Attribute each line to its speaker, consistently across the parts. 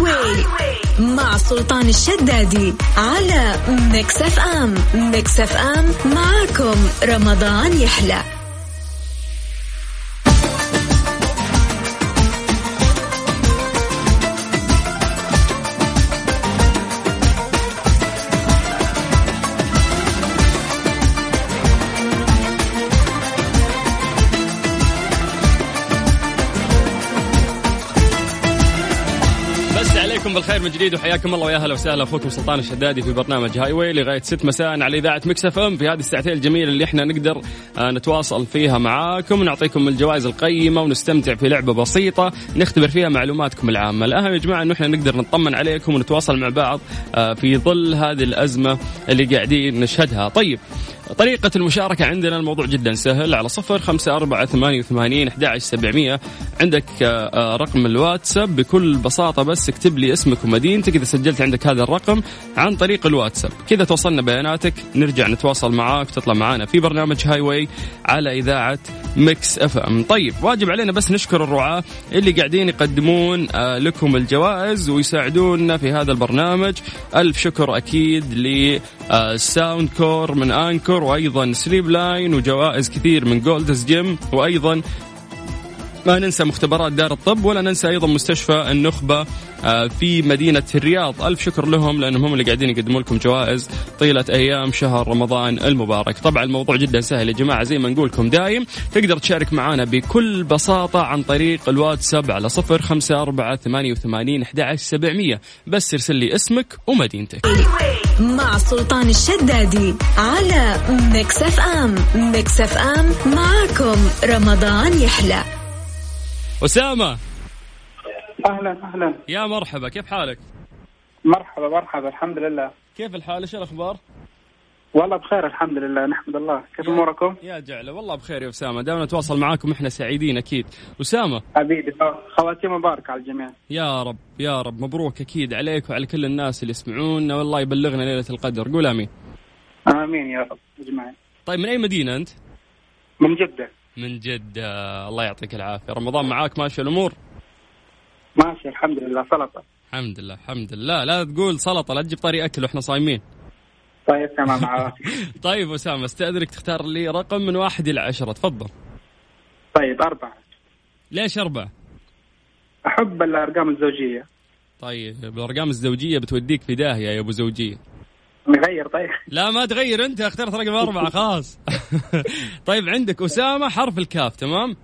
Speaker 1: واي مع سلطان الشدادي على ميكس اف ام ميكس اف ام معاكم رمضان يحلى
Speaker 2: بس عليكم بالخير من جديد وحياكم الله ويا اهلا وسهلا اخوكم سلطان الشدادي في برنامج هاي واي لغايه 6 مساء على اذاعه مكس اف ام في هذه الساعتين الجميله اللي احنا نقدر آه، نتواصل فيها معاكم ونعطيكم الجوائز القيمه ونستمتع في لعبه بسيطه نختبر فيها معلوماتكم العامه، الاهم يا جماعه انه احنا نقدر نطمن عليكم ونتواصل مع بعض آه، في ظل هذه الازمه اللي قاعدين نشهدها، طيب طريقة المشاركة عندنا الموضوع جدا سهل على صفر خمسة أربعة ثمانية وثمانين أحد سبعمية عندك آه، آه، رقم الواتساب بكل بساطة بس اكتب لي اسمك ومدينتك إذا سجلت عندك هذا الرقم عن طريق الواتساب كذا توصلنا بياناتك نرجع نتواصل معاك تطلع معانا في برنامج هاي واي على إذاعة ميكس اف ام طيب واجب علينا بس نشكر الرعاة اللي قاعدين يقدمون آه، لكم الجوائز ويساعدونا في هذا البرنامج ألف شكر أكيد لساوند كور من أنكور وأيضا سليب لاين وجوائز كثير من جولدز جيم وأيضا ما ننسى مختبرات دار الطب ولا ننسى ايضا مستشفى النخبه آه، في مدينه الرياض الف شكر لهم لانهم هم اللي قاعدين يقدموا لكم جوائز طيله ايام شهر رمضان المبارك طبعا الموضوع جدا سهل يا جماعه زي ما نقولكم دايم تقدر تشارك معنا بكل بساطه عن طريق الواتساب على 054 88 11700 بس ارسل لي اسمك ومدينتك
Speaker 1: مع سلطان الشدادي على ميكس اف ام ميكس اف ام معاكم رمضان يحلى
Speaker 2: اسامه
Speaker 3: اهلا اهلا
Speaker 2: يا مرحبا كيف حالك
Speaker 3: مرحبا مرحبا الحمد لله
Speaker 2: كيف الحال ايش الاخبار
Speaker 3: والله بخير الحمد لله نحمد الله كيف
Speaker 2: يا-
Speaker 3: اموركم؟
Speaker 2: يا جعله والله بخير يا اسامه دائما نتواصل معاكم احنا سعيدين اكيد اسامه
Speaker 3: حبيبي خواتيم مبارك على الجميع
Speaker 2: يا رب يا رب مبروك اكيد عليك وعلى كل الناس اللي يسمعونا والله يبلغنا ليله القدر قول امين
Speaker 3: امين يا رب اجمعين
Speaker 2: طيب من اي مدينه انت
Speaker 3: من جده
Speaker 2: من جده الله يعطيك العافيه رمضان معاك ماشي الامور
Speaker 3: ماشي الحمد لله سلطه
Speaker 2: الحمد لله الحمد لله لا تقول سلطه لا تجيب طري اكل واحنا صايمين
Speaker 3: طيب تمام عافية.
Speaker 2: طيب اسامه استاذنك تختار لي رقم من واحد الى عشره تفضل
Speaker 3: طيب اربعه
Speaker 2: ليش اربعه
Speaker 3: احب الارقام الزوجيه
Speaker 2: طيب الارقام الزوجيه بتوديك في داهيه يا ابو زوجيه
Speaker 3: نغير طيب
Speaker 2: لا ما تغير انت اخترت رقم اربعه خلاص طيب عندك اسامه حرف الكاف تمام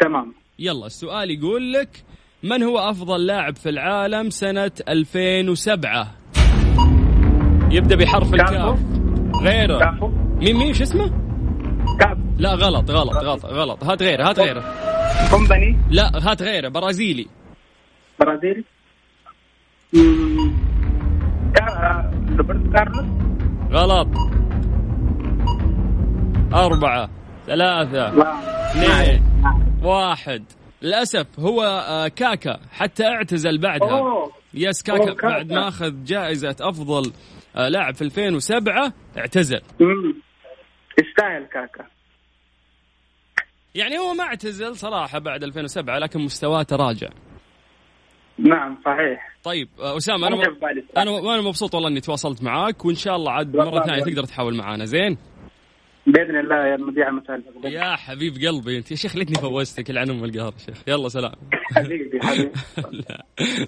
Speaker 3: تمام
Speaker 2: يلا السؤال يقول لك من هو افضل لاعب في العالم سنه 2007 يبدا بحرف الكاف غيره
Speaker 3: كافو
Speaker 2: مين مين شو اسمه
Speaker 3: كاف
Speaker 2: لا غلط غلط غلط غلط هات غيره هات غيره
Speaker 3: كومباني
Speaker 2: لا هات غيره برازيلي
Speaker 3: برازيلي مم. كا- آه، روبرتو كارلوس
Speaker 2: غلط أربعة ثلاثة
Speaker 3: لا.
Speaker 2: اثنين واحد للأسف هو آه، كاكا حتى اعتزل بعدها
Speaker 3: أوه.
Speaker 2: يس كاكا
Speaker 3: أوه، كاكا.
Speaker 2: بعد ما أخذ جائزة أفضل آه، لاعب في 2007 اعتزل
Speaker 3: مم. يستاهل كاكا
Speaker 2: يعني هو ما اعتزل صراحة بعد 2007 لكن مستواه تراجع
Speaker 3: نعم صحيح
Speaker 2: طيب آه، أسامة
Speaker 3: ما
Speaker 2: أنا
Speaker 3: جا في بالي
Speaker 2: أنا وأنا مبسوط والله إني تواصلت معاك وإن شاء الله عاد
Speaker 3: والله
Speaker 2: مرة ثانية
Speaker 3: والله.
Speaker 2: تقدر تحاول معانا زين
Speaker 3: باذن الله يا المذيع المتالق
Speaker 2: يا حبيب قلبي أنت يا شيخ ليتني فوزتك لعن أم القهر يا شيخ يلا سلام
Speaker 3: حبيبي حبيبي
Speaker 2: هلا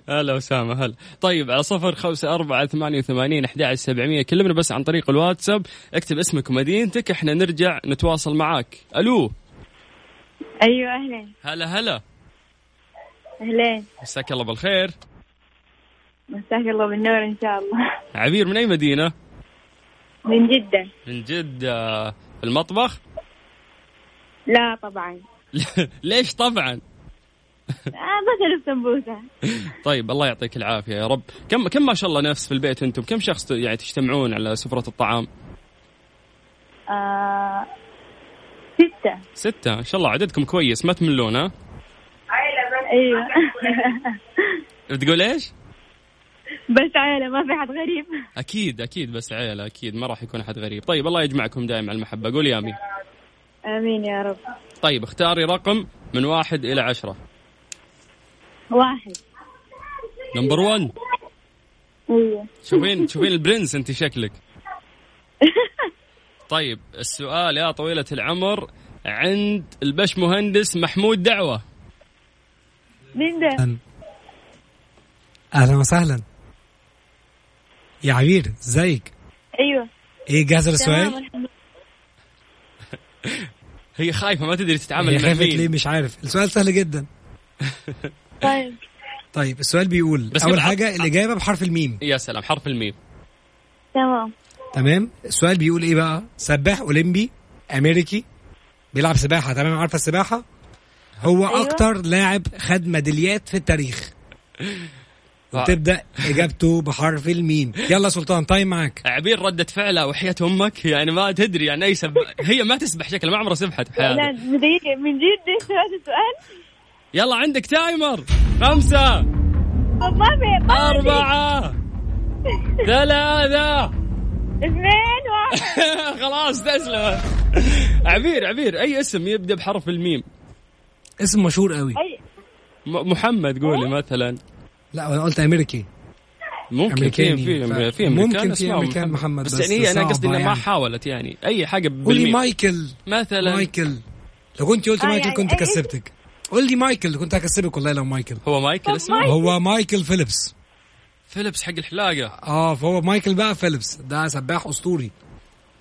Speaker 2: هلا اسامه هلا طيب على صفر خمسة أربعة ثمانية وثمانين أحد سبعمية كلمنا بس عن طريق الواتساب اكتب اسمك ومدينتك احنا نرجع نتواصل معاك ألو
Speaker 4: ايوه اهلين
Speaker 2: هلا هلا
Speaker 4: اهلين
Speaker 2: مساك الله بالخير
Speaker 4: مساك الله بالنور ان شاء الله
Speaker 2: عبير من أي مدينة؟
Speaker 4: من جدة
Speaker 2: من جدة في المطبخ؟
Speaker 4: لا طبعا
Speaker 2: ليش طبعا؟
Speaker 4: آه بسلف سمبوسة
Speaker 2: طيب الله يعطيك العافية يا رب كم كم ما شاء الله نفس في البيت أنتم كم شخص ت- يعني تجتمعون على سفرة الطعام؟
Speaker 4: آه ستة
Speaker 2: ستة إن شاء الله عددكم كويس ما تملون ها؟
Speaker 4: ايوه
Speaker 2: بتقول إيش؟
Speaker 4: بس عائلة ما في حد غريب
Speaker 2: اكيد اكيد بس عيله اكيد ما راح يكون احد غريب طيب الله يجمعكم دائما على المحبه قول يا امين
Speaker 4: امين يا رب
Speaker 2: طيب اختاري رقم من واحد الى عشرة
Speaker 4: واحد
Speaker 2: نمبر 1
Speaker 4: ايوه
Speaker 2: شوفين شوفين البرنس انت شكلك طيب السؤال يا طويلة العمر عند البش مهندس محمود دعوة
Speaker 4: مين ده؟
Speaker 5: أهلاً. اهلا وسهلا يا عبير ازيك
Speaker 4: ايوه
Speaker 5: ايه جاهزه
Speaker 4: تمام
Speaker 5: للسؤال
Speaker 4: الحمد
Speaker 2: هي خايفة ما تدري
Speaker 5: هي
Speaker 2: تتعامل مع
Speaker 5: خافت ليه
Speaker 2: مين
Speaker 5: مش عارف السؤال سهل جدا
Speaker 4: لله. طيب
Speaker 5: طيب السؤال بيقول
Speaker 2: بس
Speaker 5: اول
Speaker 2: بالعكس-
Speaker 5: حاجه الاجابه بحرف الميم
Speaker 2: يا سلام حرف الميم
Speaker 4: تمام
Speaker 5: تمام السؤال بيقول ايه بقى سباح اولمبي امريكي بيلعب سباحه تمام عارفه السباحه هو
Speaker 4: أيوة.
Speaker 5: اكتر لاعب خد ميداليات في التاريخ تبدا اجابته بحرف الميم يلا سلطان تايم معاك
Speaker 2: عبير ردة فعلها وحياة أمك يعني ما تدري يعني أي سب... هي ما تسبح شكلها ما عمرها سبحت
Speaker 4: لا
Speaker 2: بحياتها
Speaker 4: دقيقة من جد ليش هذا السؤال؟
Speaker 2: يلا عندك تايمر خمسة
Speaker 4: طب ما في ما في.
Speaker 2: أربعة ثلاثة
Speaker 4: اثنين واحد
Speaker 2: خلاص تسلم عبير عبير أي اسم يبدأ بحرف الميم
Speaker 5: اسم مشهور قوي
Speaker 4: أي-
Speaker 2: م- محمد قولي مثلا
Speaker 5: لا انا قلت امريكي
Speaker 2: ممكن في في
Speaker 5: أمريكاني. ف-
Speaker 2: في
Speaker 5: ممكن
Speaker 2: امريكان
Speaker 5: في
Speaker 2: اسمهم
Speaker 5: أمريكان محمد،
Speaker 2: بس
Speaker 5: بس
Speaker 2: يعني هي انا
Speaker 5: صعبة
Speaker 2: قصدي انها ما
Speaker 5: يعني.
Speaker 2: حاولت يعني اي حاجه
Speaker 5: قولي
Speaker 2: بالميم
Speaker 5: مايكل
Speaker 2: مثلا
Speaker 5: مايكل لو كنت قلت
Speaker 4: آه،
Speaker 5: مايكل
Speaker 4: يعني
Speaker 5: كنت
Speaker 4: إيه-
Speaker 5: كسبتك قول لي مايكل كنت هكسبك والله لو مايكل
Speaker 2: هو مايكل اسمه
Speaker 4: مايكل.
Speaker 5: هو مايكل فيليبس
Speaker 2: فيلبس حق الحلاقه
Speaker 5: اه فهو مايكل بقى فيليبس ده سباح اسطوري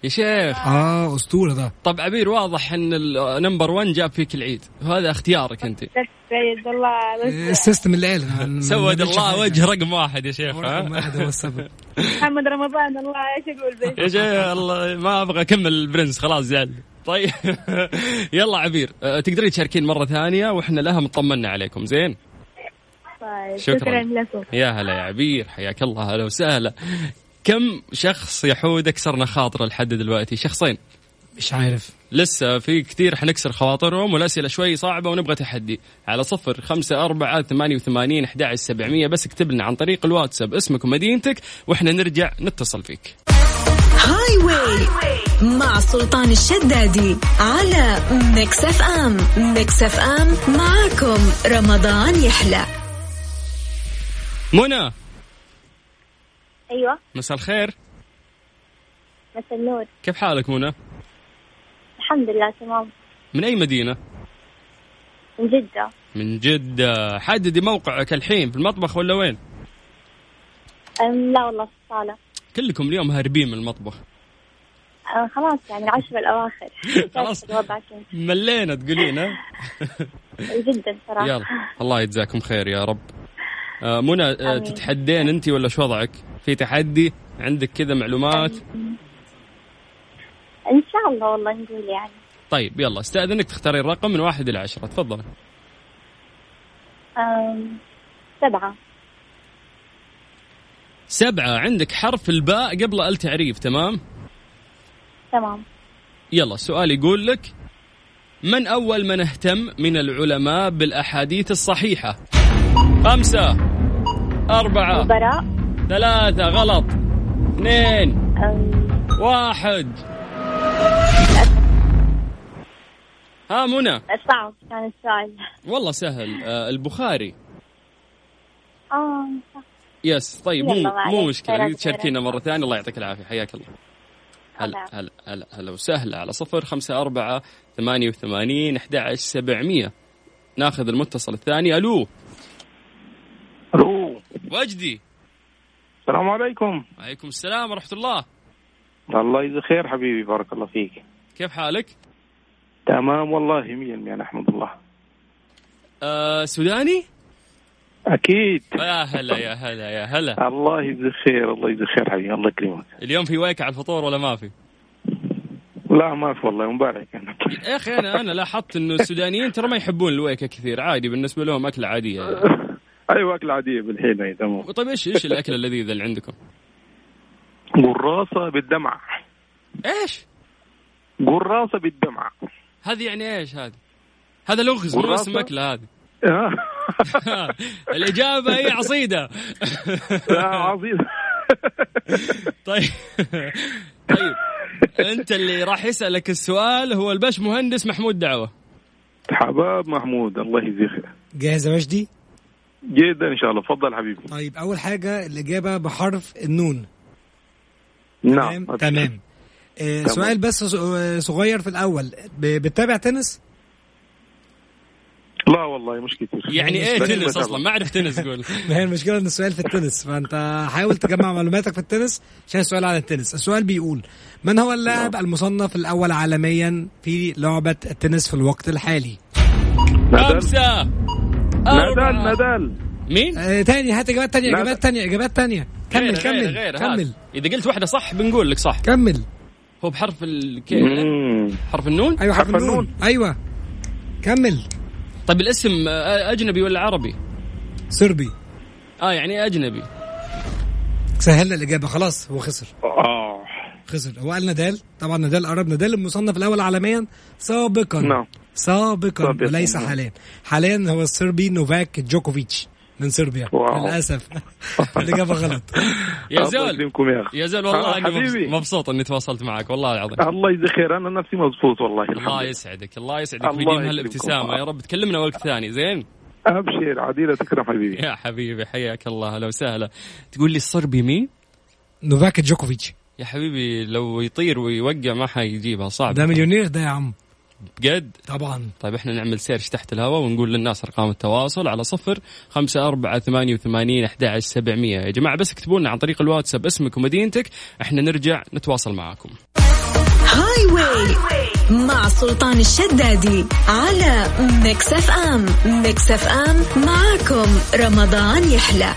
Speaker 2: يا شيخ
Speaker 5: اه اسطوره ده
Speaker 2: طب عبير واضح ان النمبر 1 جاب فيك العيد وهذا اختيارك انت
Speaker 4: بس سيد الله
Speaker 2: إيه،
Speaker 4: بس
Speaker 5: السيستم اللي قال أنا ما
Speaker 2: سود
Speaker 5: بقتش
Speaker 2: الله
Speaker 5: حاجة.
Speaker 2: وجه رقم واحد يا شيخ
Speaker 5: هو
Speaker 2: ها؟
Speaker 5: رقم واحد هو السبب
Speaker 4: محمد رمضان الله ايش اقول بس
Speaker 2: يا شيخ الله ما ابغى اكمل البرنس خلاص زعل طيب يلا عبير أه، تقدرين تشاركين مره ثانيه واحنا لها طمنا عليكم زين
Speaker 4: طيب
Speaker 2: شكراً.
Speaker 4: شكرا لكم
Speaker 2: يا هلا يا عبير حياك الله هلا وسهلا كم شخص يحود كسرنا خاطره لحد دلوقتي شخصين
Speaker 5: مش عارف
Speaker 2: لسه في كثير حنكسر خواطرهم والأسئلة شوي صعبة ونبغى تحدي على صفر خمسة أربعة ثمانية وثمانين أحد سبعمية بس اكتب لنا عن طريق الواتساب اسمك ومدينتك وإحنا نرجع نتصل فيك
Speaker 1: هاي واي مع سلطان الشدادي على ميكس اف ام ميكس اف ام معاكم رمضان يحلى
Speaker 2: منى
Speaker 4: ايوه
Speaker 2: مساء الخير
Speaker 4: مساء النور
Speaker 2: كيف حالك منى
Speaker 4: الحمد لله تمام
Speaker 2: من أي مدينة
Speaker 4: من جدة
Speaker 2: من جدة حددي موقعك الحين في المطبخ ولا وين
Speaker 4: أم لا والله في الصالة
Speaker 2: كلكم اليوم هاربين من المطبخ
Speaker 4: أه خلاص يعني العشرة الأواخر
Speaker 2: خلاص.
Speaker 4: كيف الوضع كنت
Speaker 2: ملينا تقولين ها
Speaker 4: جدا صراحة
Speaker 2: يلا الله يجزاكم خير يا رب آه، منى آه،
Speaker 4: آمين.
Speaker 2: تتحدين انت ولا شو وضعك في تحدي عندك كذا معلومات
Speaker 4: إن شاء الله والله نقول يعني
Speaker 2: طيب يلا استاذنك تختارين رقم من واحد الى عشرة تفضل
Speaker 4: أم سبعة
Speaker 2: سبعة عندك حرف الباء قبل التعريف تمام
Speaker 4: تمام
Speaker 2: يلا السؤال يقول لك من أول من اهتم من العلماء بالأحاديث الصحيحة خمسة أربعة
Speaker 4: براء
Speaker 2: ثلاثة غلط اثنين
Speaker 4: أم
Speaker 2: واحد ها منى
Speaker 4: صعب كان السؤال
Speaker 2: والله سهل آه، البخاري
Speaker 4: آه صح.
Speaker 2: يس طيب
Speaker 4: يلا
Speaker 2: مو
Speaker 4: معلش،
Speaker 2: مو مشكله
Speaker 4: خيرات
Speaker 2: تشاركينا مره ثانيه الله يعطيك العافيه حياك الله هلا
Speaker 4: طبعاً.
Speaker 2: هلا هلا هلا وسهلا على صفر خمسة أربعة ثمانية وثمانين أحد عشر سبعمية ناخذ المتصل الثاني ألو
Speaker 6: الو
Speaker 2: وجدي
Speaker 6: السلام عليكم
Speaker 2: عليكم السلام ورحمة الله
Speaker 6: الله يجزي خير حبيبي بارك الله فيك
Speaker 2: كيف حالك؟
Speaker 6: تمام والله 100% نحمد الله
Speaker 2: آه سوداني؟
Speaker 6: اكيد
Speaker 2: يا هلا يا هلا يا هلا
Speaker 6: الله يجزي خير الله يجزي خير حبيبي الله يكرمك
Speaker 2: اليوم في ويك على الفطور ولا ما في؟
Speaker 6: لا ما في والله مبارك يعني.
Speaker 2: يا أخي أنا أنا لاحظت إنه السودانيين ترى ما يحبون الويكة كثير عادي بالنسبة لهم أكلة عادية يعني.
Speaker 6: ايوه اكل عاديه بالحين اي تمام
Speaker 2: طيب إيش إيش الأكلة اللذيذة اللي عندكم؟
Speaker 6: قراصه بالدمع
Speaker 2: إيش؟
Speaker 6: قراصه بالدمع
Speaker 2: هذه يعني ايش هذه؟ هذا لغز مو
Speaker 6: والراسة؟
Speaker 2: اسم اكله هذه
Speaker 6: آه.
Speaker 2: الاجابه هي عصيده
Speaker 6: لا، عظيم
Speaker 2: طيب طيب انت اللي راح يسالك السؤال هو البش مهندس محمود دعوه
Speaker 6: حباب محمود الله يجزي خير
Speaker 5: جاهز يا مجدي
Speaker 6: جدا ان شاء الله تفضل حبيبي
Speaker 5: طيب اول حاجه الاجابه بحرف النون
Speaker 6: نعم
Speaker 5: تمام تمام آه، سؤال بس ص- آه، صغير في الاول ب- بتتابع تنس
Speaker 6: لا والله مش كتير
Speaker 2: يعني ايه
Speaker 6: بس
Speaker 2: تنس
Speaker 6: بتابع.
Speaker 2: اصلا ما اعرف تنس قول
Speaker 5: ما هي المشكله ان السؤال في التنس فانت حاول تجمع معلوماتك في التنس عشان السؤال عن التنس السؤال بيقول من هو اللاعب المصنف الاول عالميا في لعبه التنس في الوقت الحالي
Speaker 6: نادال
Speaker 2: خمسة آه.
Speaker 6: نادال نادال
Speaker 2: مين؟
Speaker 5: آه تاني هات اجابات تانية
Speaker 6: لا،
Speaker 5: اجابات تانية اجابات تانية كمل
Speaker 2: غير- غير-
Speaker 5: كمل
Speaker 2: غير،
Speaker 5: كمل
Speaker 2: هات. اذا قلت واحدة صح بنقول لك صح
Speaker 5: كمل
Speaker 2: هو بحرف الكي
Speaker 6: مم.
Speaker 2: حرف النون
Speaker 5: ايوه حرف
Speaker 6: حرف
Speaker 5: النون
Speaker 6: النون.
Speaker 5: ايوه كمل
Speaker 2: طيب الاسم آه، اجنبي ولا عربي؟
Speaker 5: سربي
Speaker 2: اه يعني اجنبي
Speaker 5: سهلنا الاجابه خلاص هو خسر
Speaker 6: اه
Speaker 5: خسر هو قال نادال طبعا نادال قرب نادال المصنف الاول عالميا سابقا
Speaker 6: نعم.
Speaker 5: سابقا
Speaker 6: سابقاً،
Speaker 5: وليس
Speaker 6: نعم.
Speaker 5: حاليا حاليا هو الصربي نوفاك جوكوفيتش من صربيا
Speaker 6: واو.
Speaker 5: للاسف الاجابه غلط
Speaker 2: يا
Speaker 6: الله
Speaker 2: زول
Speaker 6: يسلمكم يا اخي
Speaker 2: يا زول والله
Speaker 6: آه،
Speaker 2: انا مبس-
Speaker 6: حبيبي.
Speaker 2: مبسوط اني تواصلت معك والله العظيم
Speaker 6: الله يجزي خير انا نفسي مبسوط والله
Speaker 2: الله
Speaker 6: الحمد
Speaker 2: يسعدك الله يسعدك
Speaker 6: الله
Speaker 2: ويديم
Speaker 6: يكرمكم.
Speaker 2: هالابتسامه يا رب تكلمنا وقت ثاني زين
Speaker 6: لله. ابشر عديله تكرم حبيبي
Speaker 2: يا حبيبي حياك الله هلا وسهلا تقول لي الصربي مين
Speaker 5: نوفاك جوكوفيتش
Speaker 2: يا حبيبي لو يطير ويوقع ما حيجيبها صعب
Speaker 5: ده مليونير ده يا عم
Speaker 2: بجد
Speaker 5: طبعا
Speaker 2: طيب احنا نعمل سيرش تحت الهواء ونقول للناس ارقام التواصل على صفر خمسة أربعة ثمانية وثمانين أحد عشر سبعمية يا جماعة بس اكتبوا لنا عن طريق الواتساب اسمك ومدينتك احنا نرجع نتواصل معاكم
Speaker 1: هاي واي مع سلطان الشدادي على ميكس اف ام ميكس اف ام معاكم رمضان يحلى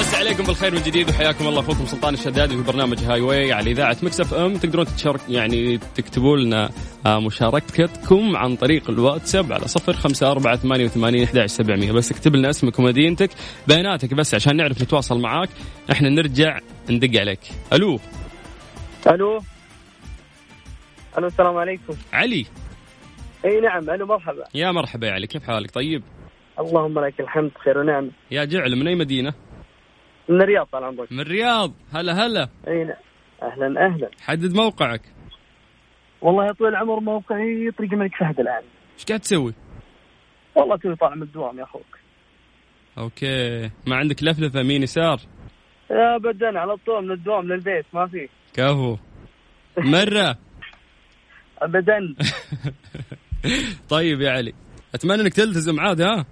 Speaker 2: بس عليكم بالخير من جديد وحياكم الله اخوكم سلطان الشدادي في برنامج هاي واي على اذاعه مكسف ام تقدرون تشارك يعني تكتبوا لنا آه، مشاركتكم عن طريق الواتساب على صفر خمسة أربعة ثمانية وثمانين أحد عشر سبعمية بس اكتب لنا اسمك ومدينتك بياناتك بس عشان نعرف نتواصل معاك احنا نرجع ندق عليك الو
Speaker 7: الو الو السلام عليكم
Speaker 2: علي
Speaker 7: اي نعم الو مرحبا
Speaker 2: يا مرحبا يا علي كيف حالك طيب
Speaker 7: اللهم لك الحمد خير ونعم
Speaker 2: يا جعل من اي مدينه
Speaker 7: من الرياض طال عمرك
Speaker 2: من الرياض هلا هلا
Speaker 7: اي نعم اهلا اهلا
Speaker 2: حدد موقعك
Speaker 7: والله يا طويل العمر موقعي طريق الملك فهد الان
Speaker 2: ايش قاعد تسوي
Speaker 7: والله توي طالع من الدوام يا اخوك
Speaker 2: اوكي ما عندك لفلفه يمين يسار
Speaker 7: ابدا على طول من الدوام للبيت ما في
Speaker 2: كفو مرة
Speaker 7: ابدا
Speaker 2: طيب يا علي اتمنى انك تلتزم عاد ها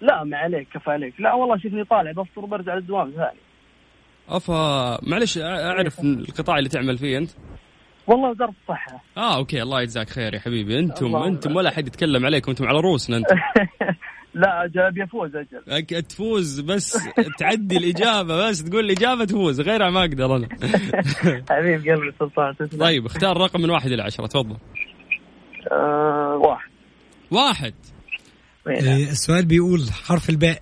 Speaker 7: لا ما عليك كفى عليك لا والله شوفني طالع بفطر وبرجع للدوام ثاني
Speaker 2: افا معلش أ- اعرف القطاع اللي تعمل فيه انت
Speaker 7: والله وزاره الصحه
Speaker 2: اه اوكي الله يجزاك خير يا حبيبي انتم
Speaker 7: الله
Speaker 2: انتم
Speaker 7: يبارك.
Speaker 2: ولا حد يتكلم عليكم انتم على رؤوسنا انتم
Speaker 7: لا اجل ابي افوز اجل
Speaker 2: أك- تفوز بس تعدي الاجابه بس تقول الاجابه تفوز غيرها ما اقدر انا
Speaker 7: حبيب قلبي سلطان تسلم
Speaker 2: طيب اختار رقم من واحد الى عشره تفضل
Speaker 7: آه واحد
Speaker 2: واحد
Speaker 7: إي
Speaker 6: إيه.
Speaker 7: نعم.
Speaker 5: آه، السؤال بيقول حرف الباء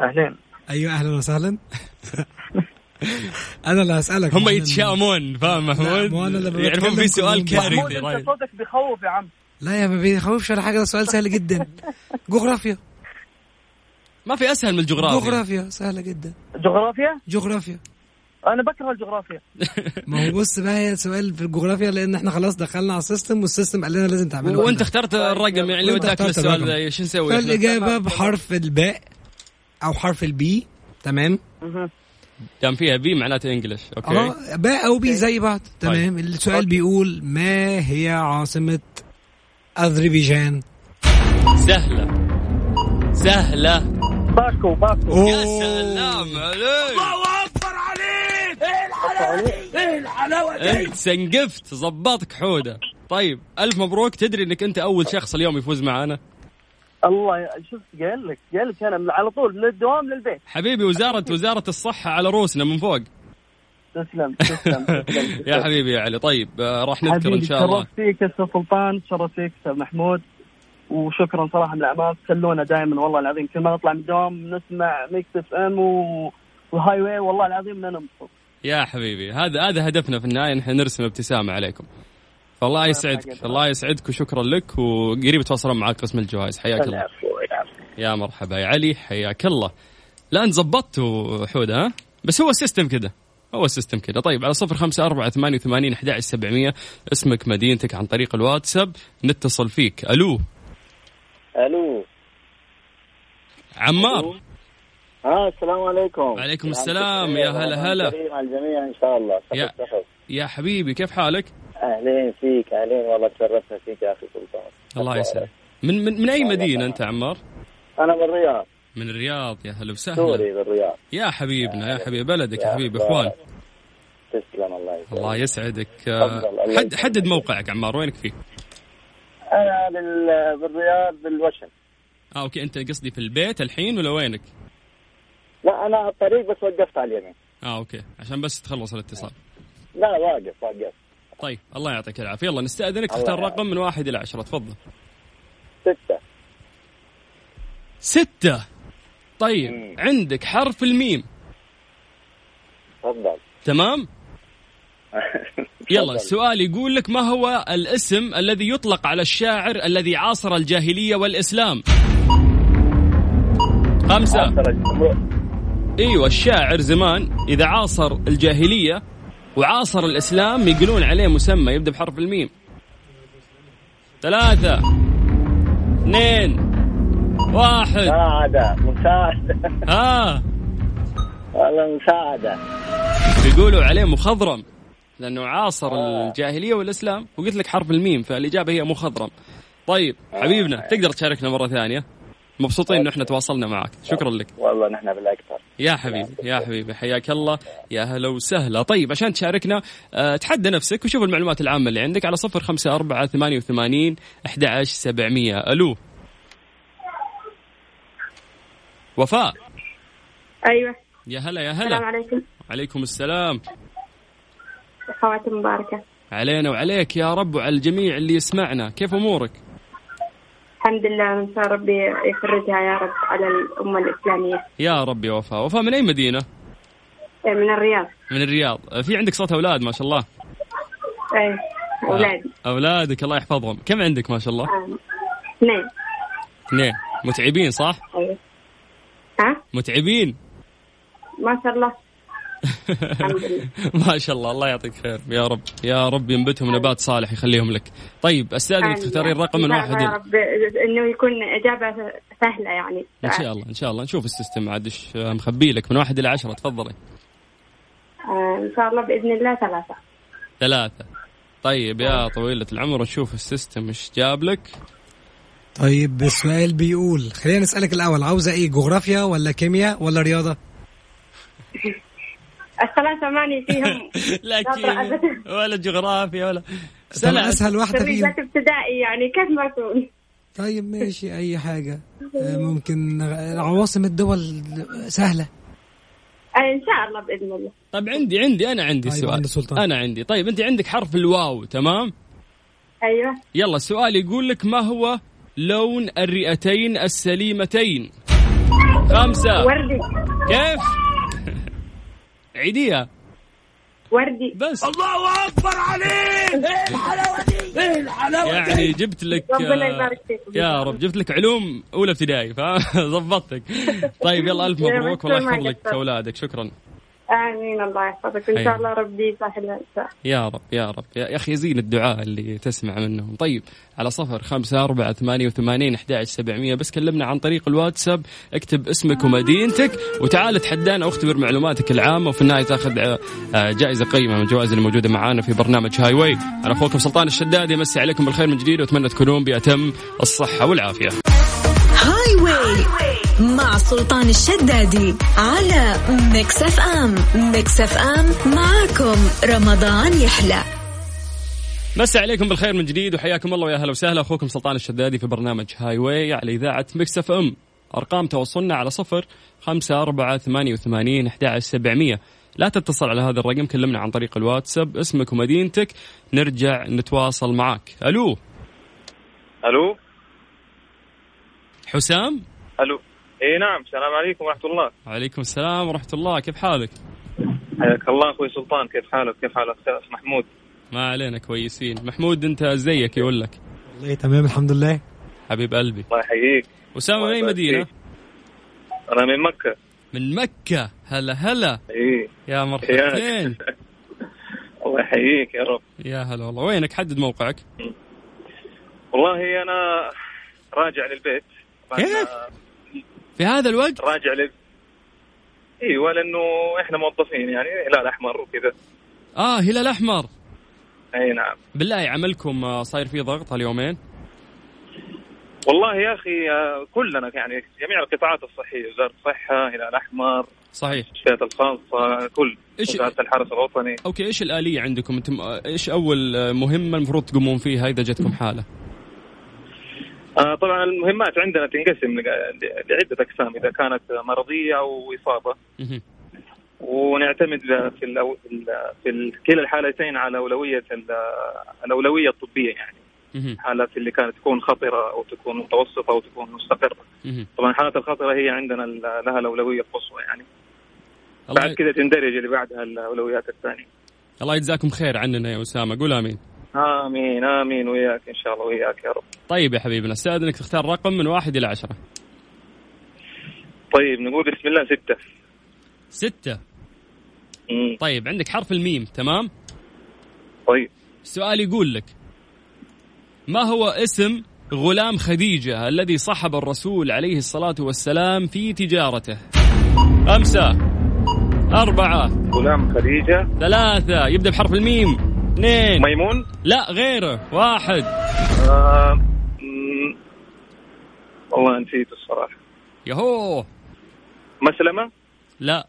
Speaker 7: اهلين
Speaker 5: ايوه اهلا وسهلا انا اللي يعني هسالك
Speaker 2: هم
Speaker 5: وأنا-
Speaker 2: يتشائمون فاهم
Speaker 5: لا، مو أنا اللي
Speaker 2: محمود
Speaker 5: بتكلم
Speaker 2: يعرفون في سؤال
Speaker 5: كلهم بعض.
Speaker 2: كارثي طيب.
Speaker 7: محمود
Speaker 2: رايح.
Speaker 7: انت صوتك بيخوف يا عم
Speaker 5: لا يا ما بيخوفش ولا حاجه ده سؤال سهل جدا جغرافيا
Speaker 2: ما في اسهل من الجغرافيا
Speaker 5: جغرافيا سهله جدا
Speaker 7: جغرافيا؟
Speaker 5: جغرافيا
Speaker 7: انا بكره الجغرافيا
Speaker 5: ما هو بص بقى هي سؤال في الجغرافيا لان احنا خلاص دخلنا على السيستم والسيستم قال لنا لازم تعمله
Speaker 2: وانت اخترت الرقم يعني اللي
Speaker 5: وأنت
Speaker 2: وداك
Speaker 5: اخترت
Speaker 2: للسؤال
Speaker 5: الرقم.
Speaker 2: ذا شو نسوي؟ إحنا؟
Speaker 5: فالاجابه بحرف الباء او حرف البي تمام
Speaker 2: كان فيها بي معناته انجلش اوكي
Speaker 5: اه باء او بي زي بعض تمام السؤال بيقول ما هي عاصمه اذربيجان
Speaker 2: سهله سهله
Speaker 7: باكو باكو
Speaker 2: يا سلام عليك الله اكبر عليك ايه الحلاوه دي ايه الحلاوه دي انت سنقفت زبطك حوده طيب الف مبروك تدري انك انت اول شخص اليوم يفوز معانا
Speaker 7: الله يا- شفت قال لك قال لك انا من- على طول من الدوام للبيت
Speaker 2: حبيبي وزاره وزاره الصحه على روسنا من فوق
Speaker 7: تسلم تسلم تسلم.
Speaker 2: يا حبيبي يا علي طيب آه، راح نذكر
Speaker 7: حبيبي
Speaker 2: ان شاء الله
Speaker 7: تشرفت فيك يا استاذ سلطان تشرفت فيك استاذ محمود وشكرا صراحه من الاعماق خلونا دائما والله العظيم كل ما نطلع من الدوام نسمع ميكس اف ام و... والهاي واي والله العظيم ما ننبسط
Speaker 2: يا حبيبي هذا هذا هدفنا في النهايه نحن نرسم ابتسامه عليكم فالله يسعدك الله يسعدك وشكرا لك وقريب يتواصلون معك قسم الجوائز حياك الله
Speaker 7: العفو العفو
Speaker 2: يا مرحبا يا علي حياك الله لا انت ظبطته حوده ها بس هو السيستم كده هو السيستم كده طيب على صفر خمسة أربعة ثمانية وثمانين أحد سبعمية اسمك مدينتك عن طريق الواتساب نتصل فيك ألو
Speaker 8: الو
Speaker 2: عمار
Speaker 8: اه السلام عليكم
Speaker 2: وعليكم السلام، يا هلا هلا.
Speaker 8: كريم على الجميع ان شاء الله
Speaker 2: يا-
Speaker 8: صحة صحة.
Speaker 2: يا حبيبي كيف حالك
Speaker 8: اهلين فيك اهلين والله تشرفنا فيك يا اخي سلطان
Speaker 2: الله يسعدك من من من أي مدينة أنت عمار
Speaker 8: انا بالرياض
Speaker 2: من الرياض يا هلا
Speaker 8: سوري
Speaker 2: وسهلا
Speaker 8: بالرياض
Speaker 2: يا حبيبنا يا حبيب بلدك يا
Speaker 8: يا
Speaker 2: حبيب
Speaker 8: أخبارك؟
Speaker 2: إخوان
Speaker 8: تسلم الله يسلمك
Speaker 2: الله يسعدك آه،
Speaker 8: تفضل، الله
Speaker 2: حد
Speaker 8: يسلمك.
Speaker 2: حدد موقعك عمار وينك فيه
Speaker 8: انا بال- بالرياض بالوشم
Speaker 2: اه اوكي انت قصدي في البيت الحين ولا وينك
Speaker 8: لا انا على الطريق بس وقفت على اليمين
Speaker 2: اه اوكي عشان بس تخلص الاتصال
Speaker 8: لا واقف واقف
Speaker 2: طيب الله يعطيك العافيه يلا نستاذنك
Speaker 8: الله
Speaker 2: تختار
Speaker 8: يعافيك.
Speaker 2: رقم من واحد الى عشره تفضل
Speaker 8: ستة
Speaker 2: ستة طيب
Speaker 8: مم.
Speaker 2: عندك حرف الميم
Speaker 8: تفضل
Speaker 2: تمام يلا السؤال يقول لك ما هو الاسم الذي يطلق على الشاعر الذي عاصر الجاهلية والإسلام خمسة ايوه الشاعر زمان اذا عاصر الجاهليه وعاصر الاسلام يقولون عليه مسمى يبدا بحرف الميم ثلاثة اثنين واحد
Speaker 8: مساعدة مساعدة
Speaker 2: ها
Speaker 8: والله مساعدة
Speaker 2: بيقولوا عليه مخضرم لانه عاصر الجاهليه والاسلام وقلت لك حرف الميم فالاجابه هي مخضرم طيب حبيبنا تقدر تشاركنا مره ثانيه مبسوطين انه احنا تواصلنا معك شكرا لك
Speaker 8: والله نحن بالأكثر
Speaker 2: يا حبيبي يا حبيبي حياك الله يا هلا وسهلا طيب عشان تشاركنا آه، تحدى نفسك وشوف المعلومات العامة اللي عندك على صفر خمسة أربعة ثمانية وثمانين أحد عشر سبعمية ألو وفاء
Speaker 4: ايوه
Speaker 2: يا هلا يا
Speaker 4: السلام
Speaker 2: هلا
Speaker 4: عليكم
Speaker 2: عليكم السلام
Speaker 4: اخواتي مباركه
Speaker 2: علينا وعليك يا رب وعلى الجميع اللي يسمعنا كيف أمورك
Speaker 4: الحمد لله من شاء ربي يفرجها يا رب على الامه الاسلاميه
Speaker 2: يا رب يا وفاء وفاء من أي مدينة
Speaker 4: إيه، من الرياض
Speaker 2: من الرياض آه، في عندك صوت أولاد ما شاء الله
Speaker 4: اي اولادي
Speaker 2: آه، أولادك الله يحفظهم كم عندك ما شاء الله
Speaker 4: آه. اثنين
Speaker 2: اثنين متعبين صح
Speaker 4: ايوه ها
Speaker 2: متعبين
Speaker 4: ما شاء الله الحمد لله.
Speaker 2: ما شاء الله الله يعطيك خير يا رب يا رب ينبتهم نبات صالح يخليهم لك طيب استاذنك
Speaker 4: آه،
Speaker 2: تختارين رقم من
Speaker 4: إن شاء الله
Speaker 2: واحد
Speaker 4: يا
Speaker 2: إلى-
Speaker 4: رب انه يكون اجابه سهله يعني
Speaker 2: ان شاء الله ان شاء الله نشوف السيستم عاد ايش آه، مخبي لك من واحد الى عشره تفضلي
Speaker 4: آه، ان شاء الله باذن الله ثلاثه
Speaker 2: ثلاثه طيب يا طويلة العمر نشوف السيستم ايش جاب لك
Speaker 5: طيب السؤال بيقول خلينا نسالك الاول عاوزه ايه جغرافيا ولا كيمياء ولا رياضه
Speaker 4: الثلاثه ماني فيهم شاطرة أبداً.
Speaker 2: لكن ولا جغرافيا ولا
Speaker 5: طب
Speaker 2: سلام
Speaker 5: اسهل واحده
Speaker 2: طيب.
Speaker 5: فيهم
Speaker 4: تلميذات ابتدائي يعني كيف ما اكون
Speaker 5: طيب ماشي اي حاجه آه، ممكن آه، عواصم الدول سهله
Speaker 4: آه، ان شاء الله باذن الله
Speaker 2: طب طيب، عندي عندي انا عندي
Speaker 5: طيب،
Speaker 2: سؤال
Speaker 5: عند سلطان.
Speaker 2: انا عندي طيب انت عندك حرف الواو تمام
Speaker 4: ايوه
Speaker 2: يلا السؤال يقول لك ما هو لون الرئتين السليمتين خمسة
Speaker 4: وردي
Speaker 2: كيف عيديها
Speaker 4: وردي
Speaker 2: بس الله اكبر عليك ايه الحلاوه دي ايه الحلاوه يعني جبت لك
Speaker 4: ربنا
Speaker 2: آه،
Speaker 4: يبارك فيكم.
Speaker 2: يا رب جبت لك علوم اولى ابتدائي فظبطتك طيب يلا الف مبروك والله
Speaker 4: ما
Speaker 2: يحفظ لك
Speaker 4: قصرت.
Speaker 2: اولادك شكرا
Speaker 4: امين الله يحفظك ان
Speaker 2: أيوة.
Speaker 4: شاء الله ربي يسهل إن شاء الله.
Speaker 2: يا رب يا رب يا يا اخي يزين الدعاء اللي تسمع منهم طيب على صفر خمسة أربعة ثمانية وثمانين أحد سبعمية بس كلمنا عن طريق الواتساب اكتب اسمك ومدينتك وتعال تحدانا واختبر معلوماتك العامة وفي النهاية تاخذ آه، آه، جائزة قيمة من الجوائز اللي موجودة معانا في برنامج هاي واي أنا أخوكم سلطان الشدادي أمسي عليكم بالخير من جديد وأتمنى تكونون بأتم الصحة والعافية
Speaker 1: هاي واي مع سلطان الشدادي على ميكس اف ام ميكس اف ام معاكم رمضان يحلى
Speaker 2: مسا عليكم بالخير من جديد وحياكم الله ويا هلا وسهلا اخوكم سلطان الشدادي في برنامج هاي واي على اذاعه مكس اف ام ارقام تواصلنا على صفر خمسة أربعة ثمانية وثمانين أحد سبعمية لا تتصل على هذا الرقم كلمنا عن طريق الواتساب اسمك ومدينتك نرجع نتواصل معك ألو
Speaker 9: الو
Speaker 2: حسام
Speaker 9: الو اي نعم السلام عليكم ورحمه الله
Speaker 2: عليكم السلام ورحمة الله كيف حالك
Speaker 9: حياك الله اخوي سلطان كيف حالك كيف حالك أخ محمود
Speaker 2: ما علينا كويسين محمود أنت زيك يقول لك
Speaker 5: والله تمام الحمد لله
Speaker 2: حبيب قلبي
Speaker 9: الله يحييك
Speaker 2: أسامة من أي
Speaker 9: الله يبارك
Speaker 2: مدينة
Speaker 9: فيك. انا من مكه
Speaker 2: من مكة هلا هلا
Speaker 9: ايه
Speaker 2: يا مرحبتين
Speaker 9: الله يحييك يا رب
Speaker 2: يا هلا والله وينك حدد موقعك
Speaker 9: والله انا راجع للبيت طبعاً
Speaker 2: كيف؟ في هذا الوقت
Speaker 9: راجع لل ايوه لانه احنا موظفين يعني هلال احمر وكذا
Speaker 2: اه هلال احمر
Speaker 9: اي نعم
Speaker 2: بالله عملكم آه، صاير فيه ضغط هاليومين
Speaker 9: والله يا اخي آه، كلنا يعني جميع القطاعات الصحيه وزاره الصحه هلال احمر
Speaker 2: صحيح
Speaker 9: المستشفيات الخاصه كل
Speaker 2: إيش-
Speaker 9: وزاره الحرس الوطني
Speaker 2: اوكي ايش الاليه عندكم انتم آه، ايش اول آه، مهمه المفروض تقومون فيها اذا جتكم حاله
Speaker 9: آه، طبعا المهمات عندنا تنقسم لق- لعده اقسام اذا كانت مرضيه او اصابه
Speaker 2: مهم.
Speaker 9: ونعتمد في الأو... في ال- في ال- كلا الحالتين على اولويه ال- الاولويه الطبيه يعني
Speaker 2: مهم.
Speaker 9: الحالات اللي كانت تكون خطره او تكون متوسطه او تكون مستقره
Speaker 2: مهم.
Speaker 9: طبعا الحالات الخطره هي عندنا ال- لها الاولويه القصوى يعني
Speaker 2: الله
Speaker 9: بعد كذا تندرج اللي بعدها الاولويات الثانيه
Speaker 2: الله يجزاكم خير عننا يا اسامه قول امين
Speaker 9: امين امين وياك ان شاء الله وياك يا رب
Speaker 2: طيب يا حبيبنا استاذنك تختار رقم من واحد الى عشره
Speaker 9: طيب نقول بسم الله سته
Speaker 2: سته
Speaker 9: مم.
Speaker 2: طيب عندك حرف الميم تمام
Speaker 9: طيب
Speaker 2: السؤال يقول لك ما هو اسم غلام خديجة الذي صحب الرسول عليه الصلاة والسلام في تجارته خمسة أربعة
Speaker 9: غلام خديجه
Speaker 2: ثلاثة يبدأ بحرف الميم اثنين
Speaker 9: ميمون
Speaker 2: لا غيره واحد
Speaker 9: آه، مم. والله نسيت الصراحه
Speaker 2: يهو
Speaker 9: مسلمه
Speaker 2: لا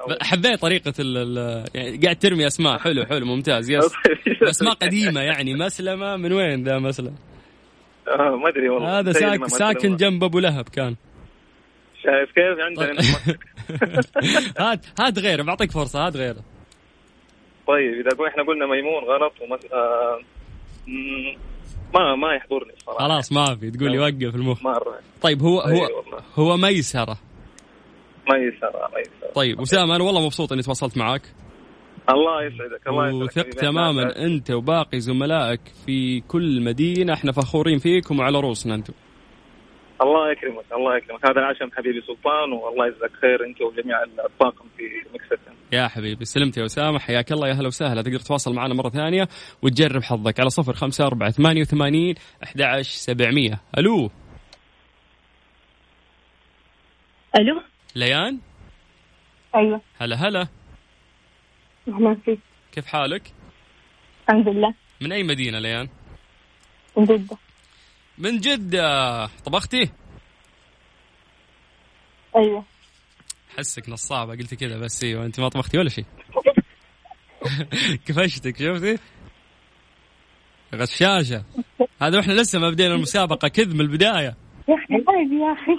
Speaker 9: أو-
Speaker 2: حبيت طريقة ال ال- يعني قاعد ترمي أسماء حلو حلو ممتاز يس أسماء قديمة يعني مسلمة من وين ذا مسلمة
Speaker 9: آه، ما ادري والله
Speaker 2: هذا
Speaker 9: سيد
Speaker 2: ساك
Speaker 9: ما
Speaker 2: ساكن
Speaker 9: مسلمة.
Speaker 2: جنب أبو لهب كان
Speaker 9: شايف كيف عندنا
Speaker 2: طيب.
Speaker 9: هنا.
Speaker 2: هات هات غيره بعطيك فرصة هات غيره
Speaker 9: طيب اذا قلنا- احنا قلنا ميمون غلط ومس... آه، مم، ما ما يحضرني الصراحه
Speaker 2: خلاص ما في تقول لي وقف المخ
Speaker 9: مره
Speaker 2: طيب هو هو
Speaker 9: أي والله.
Speaker 2: هو ميسرة
Speaker 9: ما يسرى ما يسرى
Speaker 2: طيب وسام انا والله مبسوط اني تواصلت معك
Speaker 9: الله يسعدك الله يسعدك
Speaker 2: وثق
Speaker 9: حبيبي.
Speaker 2: تماما انت وباقي زملائك في كل مدينة احنا فخورين فيكم وعلى رؤوسنا انتم
Speaker 9: الله يكرمك الله يكرمك هذا العشم حبيبي سلطان والله يجزاك خير انت وجميع الطاقم في مكسفن
Speaker 2: يا حبيبي سلمت يا اسامه حياك الله يا هلا وسهلا تقدر تتواصل معنا مره ثانيه وتجرب حظك على صفر خمسة أربعة ثمانية وثمانين أحد عشر سبعمية ألو
Speaker 4: الو
Speaker 2: ليان
Speaker 4: ايوه
Speaker 2: هلا هلا
Speaker 4: اهلا فيك
Speaker 2: كيف حالك
Speaker 4: الحمد لله
Speaker 2: من أي مدينة ليان
Speaker 4: من جدة
Speaker 2: من جدة طبختي
Speaker 4: ايوه
Speaker 2: حسك نصابة قلت كذا بس ايوه انت ما طبختي ولا شيء كفشتك شفتي غشاشة هذا واحنا لسه ما بدينا المسابقة كذب من البداية
Speaker 4: يا اخي طيب يا اخي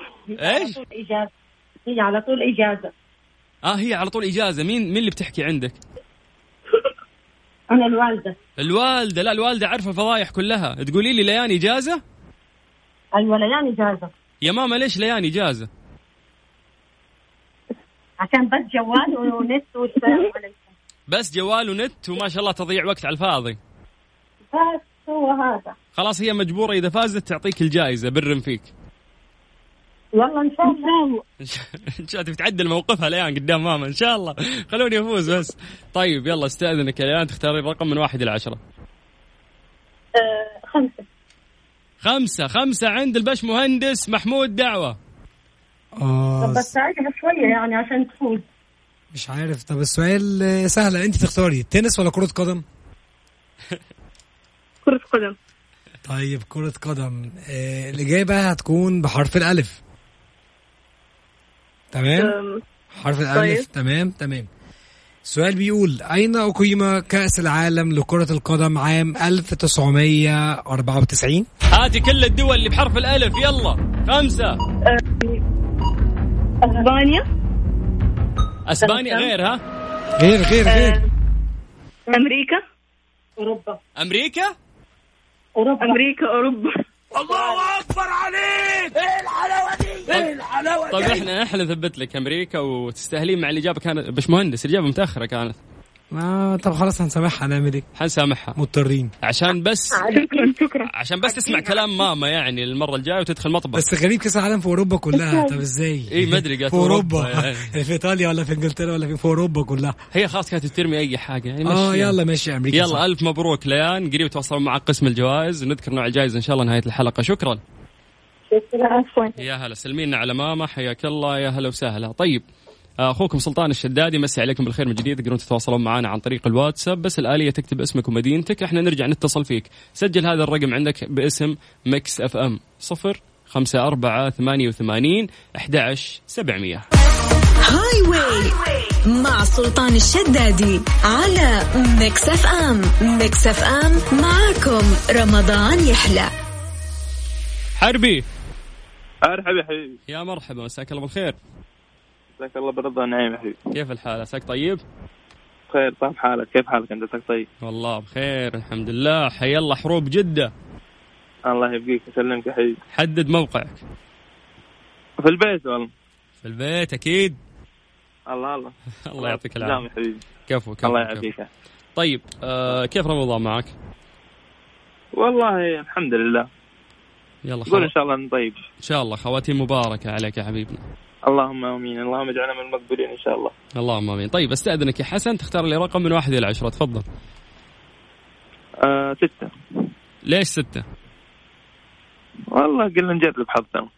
Speaker 2: إيش؟
Speaker 4: على طول اجازه هي على طول اجازه
Speaker 2: اه هي على طول إجازة مين مين اللي بتحكي عندك
Speaker 4: انا الوالده
Speaker 2: الوالدة لا الوالدة عارفة الفضايح كلها تقولي لي ليان إجازة
Speaker 4: ايوه ليان اجازه
Speaker 2: يا ماما ليش ليان إجازة
Speaker 4: عشان بس جوال ونت والسلام عليكم
Speaker 2: بس جوال ونت وما شاء الله تضيع وقت على الفاضي
Speaker 4: بس هو هذا
Speaker 2: خلاص هي مجبورة إذا فازت تعطيك الجائزة بر فيك
Speaker 4: يلا ان شاء الله
Speaker 2: ان شاء إن شاء الله بتعدل موقفها ليان قدام ماما ان شاء الله خلوني افوز بس طيب يلا استاذنك يا ليان تختاري رقم من واحد الى عشره
Speaker 4: آه، خمسه
Speaker 2: خمسة خمسة عند البش مهندس محمود دعوة
Speaker 5: اه
Speaker 4: بس ساعدها شويه يعني عشان تفوز
Speaker 5: مش عارف طب السؤال آه، سهل انت تختاري تنس ولا كرة قدم؟
Speaker 4: كرة قدم
Speaker 5: طيب كرة قدم آه الإجابة هتكون بحرف الألف
Speaker 4: طيب.
Speaker 5: تمام حرف الألف تمام تمام السؤال بيقول أين أقيم كأس العالم لكرة القدم عام 1994
Speaker 2: هاتي كل الدول اللي بحرف الألف يلا خمسة
Speaker 4: اسبانيا
Speaker 2: أسبانيا غير ها
Speaker 5: غير غير غير
Speaker 4: امريكا اوروبا
Speaker 2: أمريكا
Speaker 4: اوروبا امريكا اوروبا
Speaker 2: طيب
Speaker 5: يعني
Speaker 2: احنا احنا نثبت لك أمريكا وتستاهلين مع الإجابة كانت بش مهندس الإجابة متأخرة كانت
Speaker 5: ما طب خلاص هنسامحها هنعمل ايه؟
Speaker 2: حنسامحها
Speaker 5: مضطرين
Speaker 2: عشان بس
Speaker 4: شكرا شكرا
Speaker 2: عشان بس تسمع كلام ماما يعني المره الجايه وتدخل المطبخ
Speaker 5: بس غريب كاس العالم في اوروبا كلها طب ازاي؟
Speaker 2: إيه، ما أدري قالت
Speaker 5: في اوروبا
Speaker 2: أوروبا يعني.
Speaker 5: في ايطاليا ولا في انجلترا ولا فين؟ في اوروبا كلها
Speaker 2: هي خلاص كانت ترمي اي حاجه يعني
Speaker 5: اه
Speaker 2: مشي.
Speaker 5: يلا ماشي امريكا صح.
Speaker 2: يلا الف مبروك ليان قريب تواصلوا مع قسم الجوائز ونذكر نوع الجائزه ان شاء الله نهايه الحلقه شكرا
Speaker 4: عفوا
Speaker 2: يا هلا سلمينا على ماما حياك الله يا هلا وسهلا طيب اخوكم سلطان الشدادي مسي عليكم بالخير من جديد تقدرون تتواصلون معنا عن طريق الواتساب بس الاليه تكتب اسمك ومدينتك احنا نرجع نتصل فيك سجل هذا الرقم عندك باسم مكس اف ام 0 5 4 88 11 700
Speaker 1: هاي واي مع سلطان الشدادي على ميكس اف ام ميكس اف ام معاكم رمضان يحلى
Speaker 2: حربي
Speaker 9: ارحب يا حبيبي
Speaker 2: يا مرحبا مساك الله بالخير
Speaker 9: جزاك الله بالرضا والنعيم يا حبيبي
Speaker 2: كيف الحال عساك طيب
Speaker 9: بخير طيب حالك كيف حالك انت عساك طيب
Speaker 2: والله بخير الحمد لله حي الله حروب جده
Speaker 9: الله يبقيك يسلمك يا حبيبي
Speaker 2: حدد موقعك
Speaker 9: في البيت والله
Speaker 2: في البيت اكيد
Speaker 9: الله الله
Speaker 2: الله يعطيك
Speaker 9: نعم
Speaker 2: العافيه
Speaker 9: يا حبيبي
Speaker 2: كفو كفو
Speaker 9: الله
Speaker 2: كفو.
Speaker 9: يعافيك
Speaker 2: طيب آه كيف رمضان معك؟
Speaker 9: والله الحمد لله
Speaker 2: يلا خو...
Speaker 9: قول ان شاء الله إن طيب
Speaker 2: ان شاء الله خواتيم مباركه عليك يا حبيبنا
Speaker 9: اللهم امين اللهم اجعلنا من المقبولين ان شاء الله
Speaker 2: اللهم امين طيب استاذنك يا حسن تختار لي رقم من واحد الى عشره تفضل
Speaker 9: آه ستة
Speaker 2: ليش سته؟
Speaker 9: والله قلنا نجرب حظنا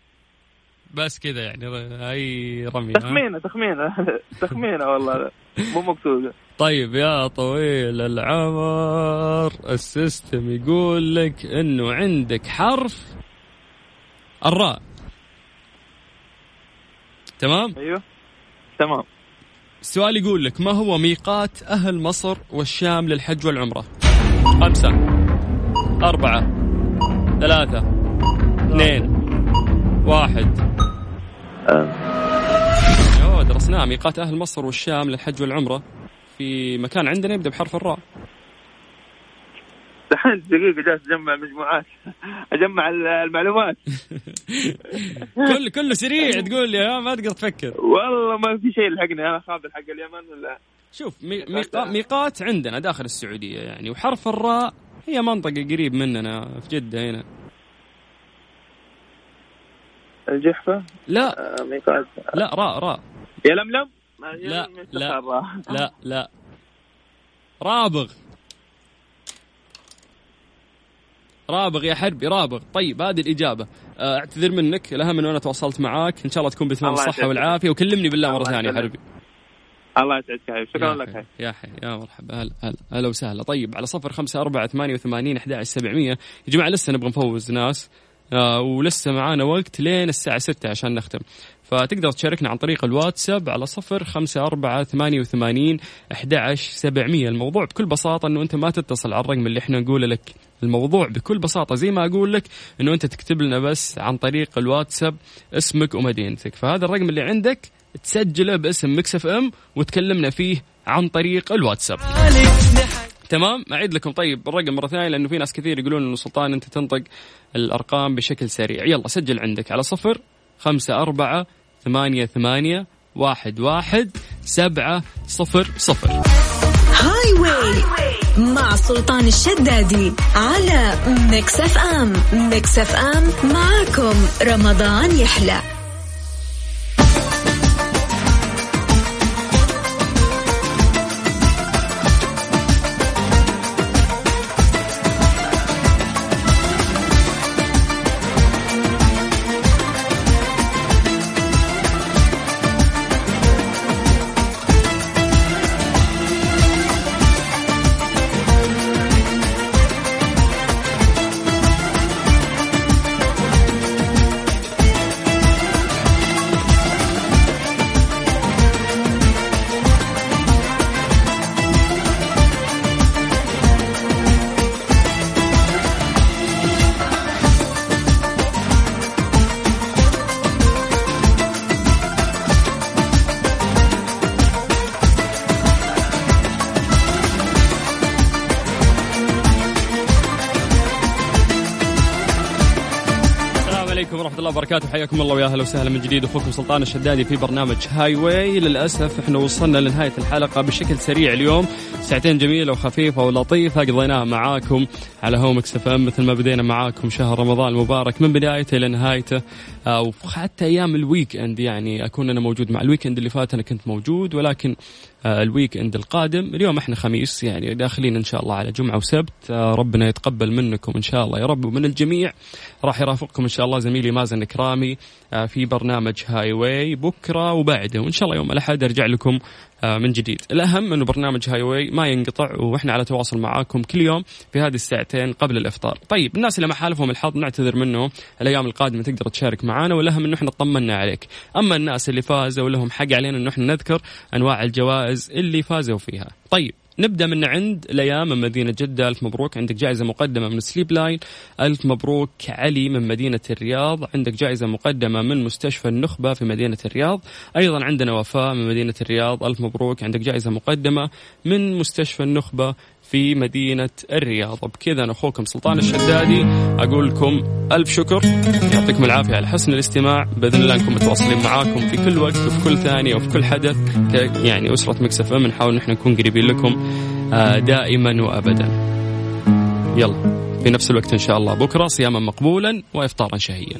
Speaker 2: بس كذا يعني ر- اي رمي ها؟
Speaker 9: تخمينه تخمينه تخمينه والله مو مقصود
Speaker 2: طيب يا طويل العمر السيستم يقول لك انه عندك حرف الراء تمام؟
Speaker 9: ايوه تمام
Speaker 2: السؤال يقول لك ما هو ميقات أهل مصر والشام للحج والعمرة خمسة أربعة ثلاثة اثنين واحد
Speaker 9: آه.
Speaker 2: أوه درسناه ميقات أهل مصر والشام للحج والعمرة في مكان عندنا يبدأ بحرف الراء
Speaker 9: دحين دقيقة جالس أجمع مجموعات أجمع ال- المعلومات
Speaker 2: كل كله سريع تقول لي ها ما تقدر تفكر
Speaker 9: والله ما في شيء لحقني أنا خاطر حق اليمن ولا
Speaker 2: شوف مي- ميقا- ميقات عندنا داخل السعودية يعني وحرف الراء هي منطقة قريب مننا في جدة هنا
Speaker 9: الجحفة
Speaker 2: لا
Speaker 9: آه، ميقات
Speaker 2: لا راء راء
Speaker 9: يا لملم ما- يا
Speaker 2: لا،
Speaker 9: لملم
Speaker 2: لا.
Speaker 9: يستقر.
Speaker 2: لا لا رابغ رابغ يا حربي رابغ طيب هذه الإجابة آه، اعتذر منك الأهم أنه أنا تواصلت معاك إن شاء الله تكون بتمام
Speaker 9: الله
Speaker 2: الصحة
Speaker 9: يسعدك.
Speaker 2: والعافية وكلمني بالله مرة
Speaker 9: الله
Speaker 2: ثانية يا
Speaker 9: يسعدك.
Speaker 2: حربي
Speaker 9: الله يسعدك يا حبيبي شكرا
Speaker 2: يا
Speaker 9: لك
Speaker 2: حي
Speaker 9: حبيبي
Speaker 2: يا حي يا مرحبا هلا هلا هلا وسهلا طيب على صفر خمسة أربعة ثمانية وثمانين أحد سبعمية يا جماعة لسه نبغى نفوز ناس آه ولسه معانا وقت لين الساعة ستة عشان نختم فتقدر تشاركنا عن طريق الواتساب على صفر خمسة أربعة ثمانية وثمانين أحد سبعمية الموضوع بكل بساطة أنه أنت ما تتصل على الرقم اللي إحنا نقوله لك الموضوع بكل بساطة زي ما أقول لك أنه أنت تكتب لنا بس عن طريق الواتساب اسمك ومدينتك فهذا الرقم اللي عندك تسجله باسم مكسف ام وتكلمنا فيه عن طريق الواتساب تمام اعيد لكم طيب الرقم مره ثانيه لانه في ناس كثير يقولون انه سلطان انت تنطق الارقام بشكل سريع يلا سجل عندك على صفر خمسة أربعة ثمانية ثمانية واحد واحد سبعة صفر صفر
Speaker 1: هاي واي مع سلطان الشدادي على ميكس اف ام ميكس اف ام معاكم رمضان يحلى
Speaker 2: الله وبركاته حياكم الله ويا اهلا وسهلا من جديد اخوكم سلطان الشدادي في برنامج هاي واي للاسف احنا وصلنا لنهايه الحلقه بشكل سريع اليوم ساعتين جميله وخفيفه ولطيفه قضيناها معاكم على هومكس اف ام مثل ما بدينا معاكم شهر رمضان المبارك من بدايته لنهايته آه، وحتى ايام الويك اند يعني اكون انا موجود مع الويك اند اللي فات انا كنت موجود ولكن آه، الويك اند القادم اليوم احنا خميس يعني داخلين ان شاء الله على جمعه وسبت آه، ربنا يتقبل منكم ان شاء الله يا رب ومن الجميع راح يرافقكم ان شاء الله زميلي مازن كرامي آه، في برنامج هاي واي بكره وبعده وان شاء الله يوم الاحد ارجع لكم آه، من جديد الاهم انه برنامج هاي واي ما ينقطع واحنا على تواصل معاكم كل يوم في هذه الساعتين قبل الافطار طيب الناس اللي ما حالفهم الحظ نعتذر منه الايام القادمه تقدر تشارك معنا والاهم انه احنا طمنا عليك اما الناس اللي فازوا لهم حق علينا انه احنا نذكر انواع الجوائز اللي فازوا فيها طيب نبدا من عند ليا من مدينه جده الف مبروك عندك جائزه مقدمه من سليب لاين الف مبروك علي من مدينه الرياض عندك جائزه مقدمه من مستشفى النخبه في مدينه الرياض ايضا عندنا وفاء من مدينه الرياض الف مبروك عندك جائزه مقدمه من مستشفى النخبه في مدينه الرياض بكذا انا اخوكم سلطان الشدادي اقول لكم الف شكر يعطيكم العافيه على حسن الاستماع باذن الله نكون متواصلين معاكم في كل وقت وفي كل ثانيه وفي كل حدث ك- يعني اسره مكسف ام نحاول نحن نكون قريبين لكم آه، دائما وابدا يلا في نفس الوقت ان شاء الله بكره صياما مقبولا وافطارا شهيا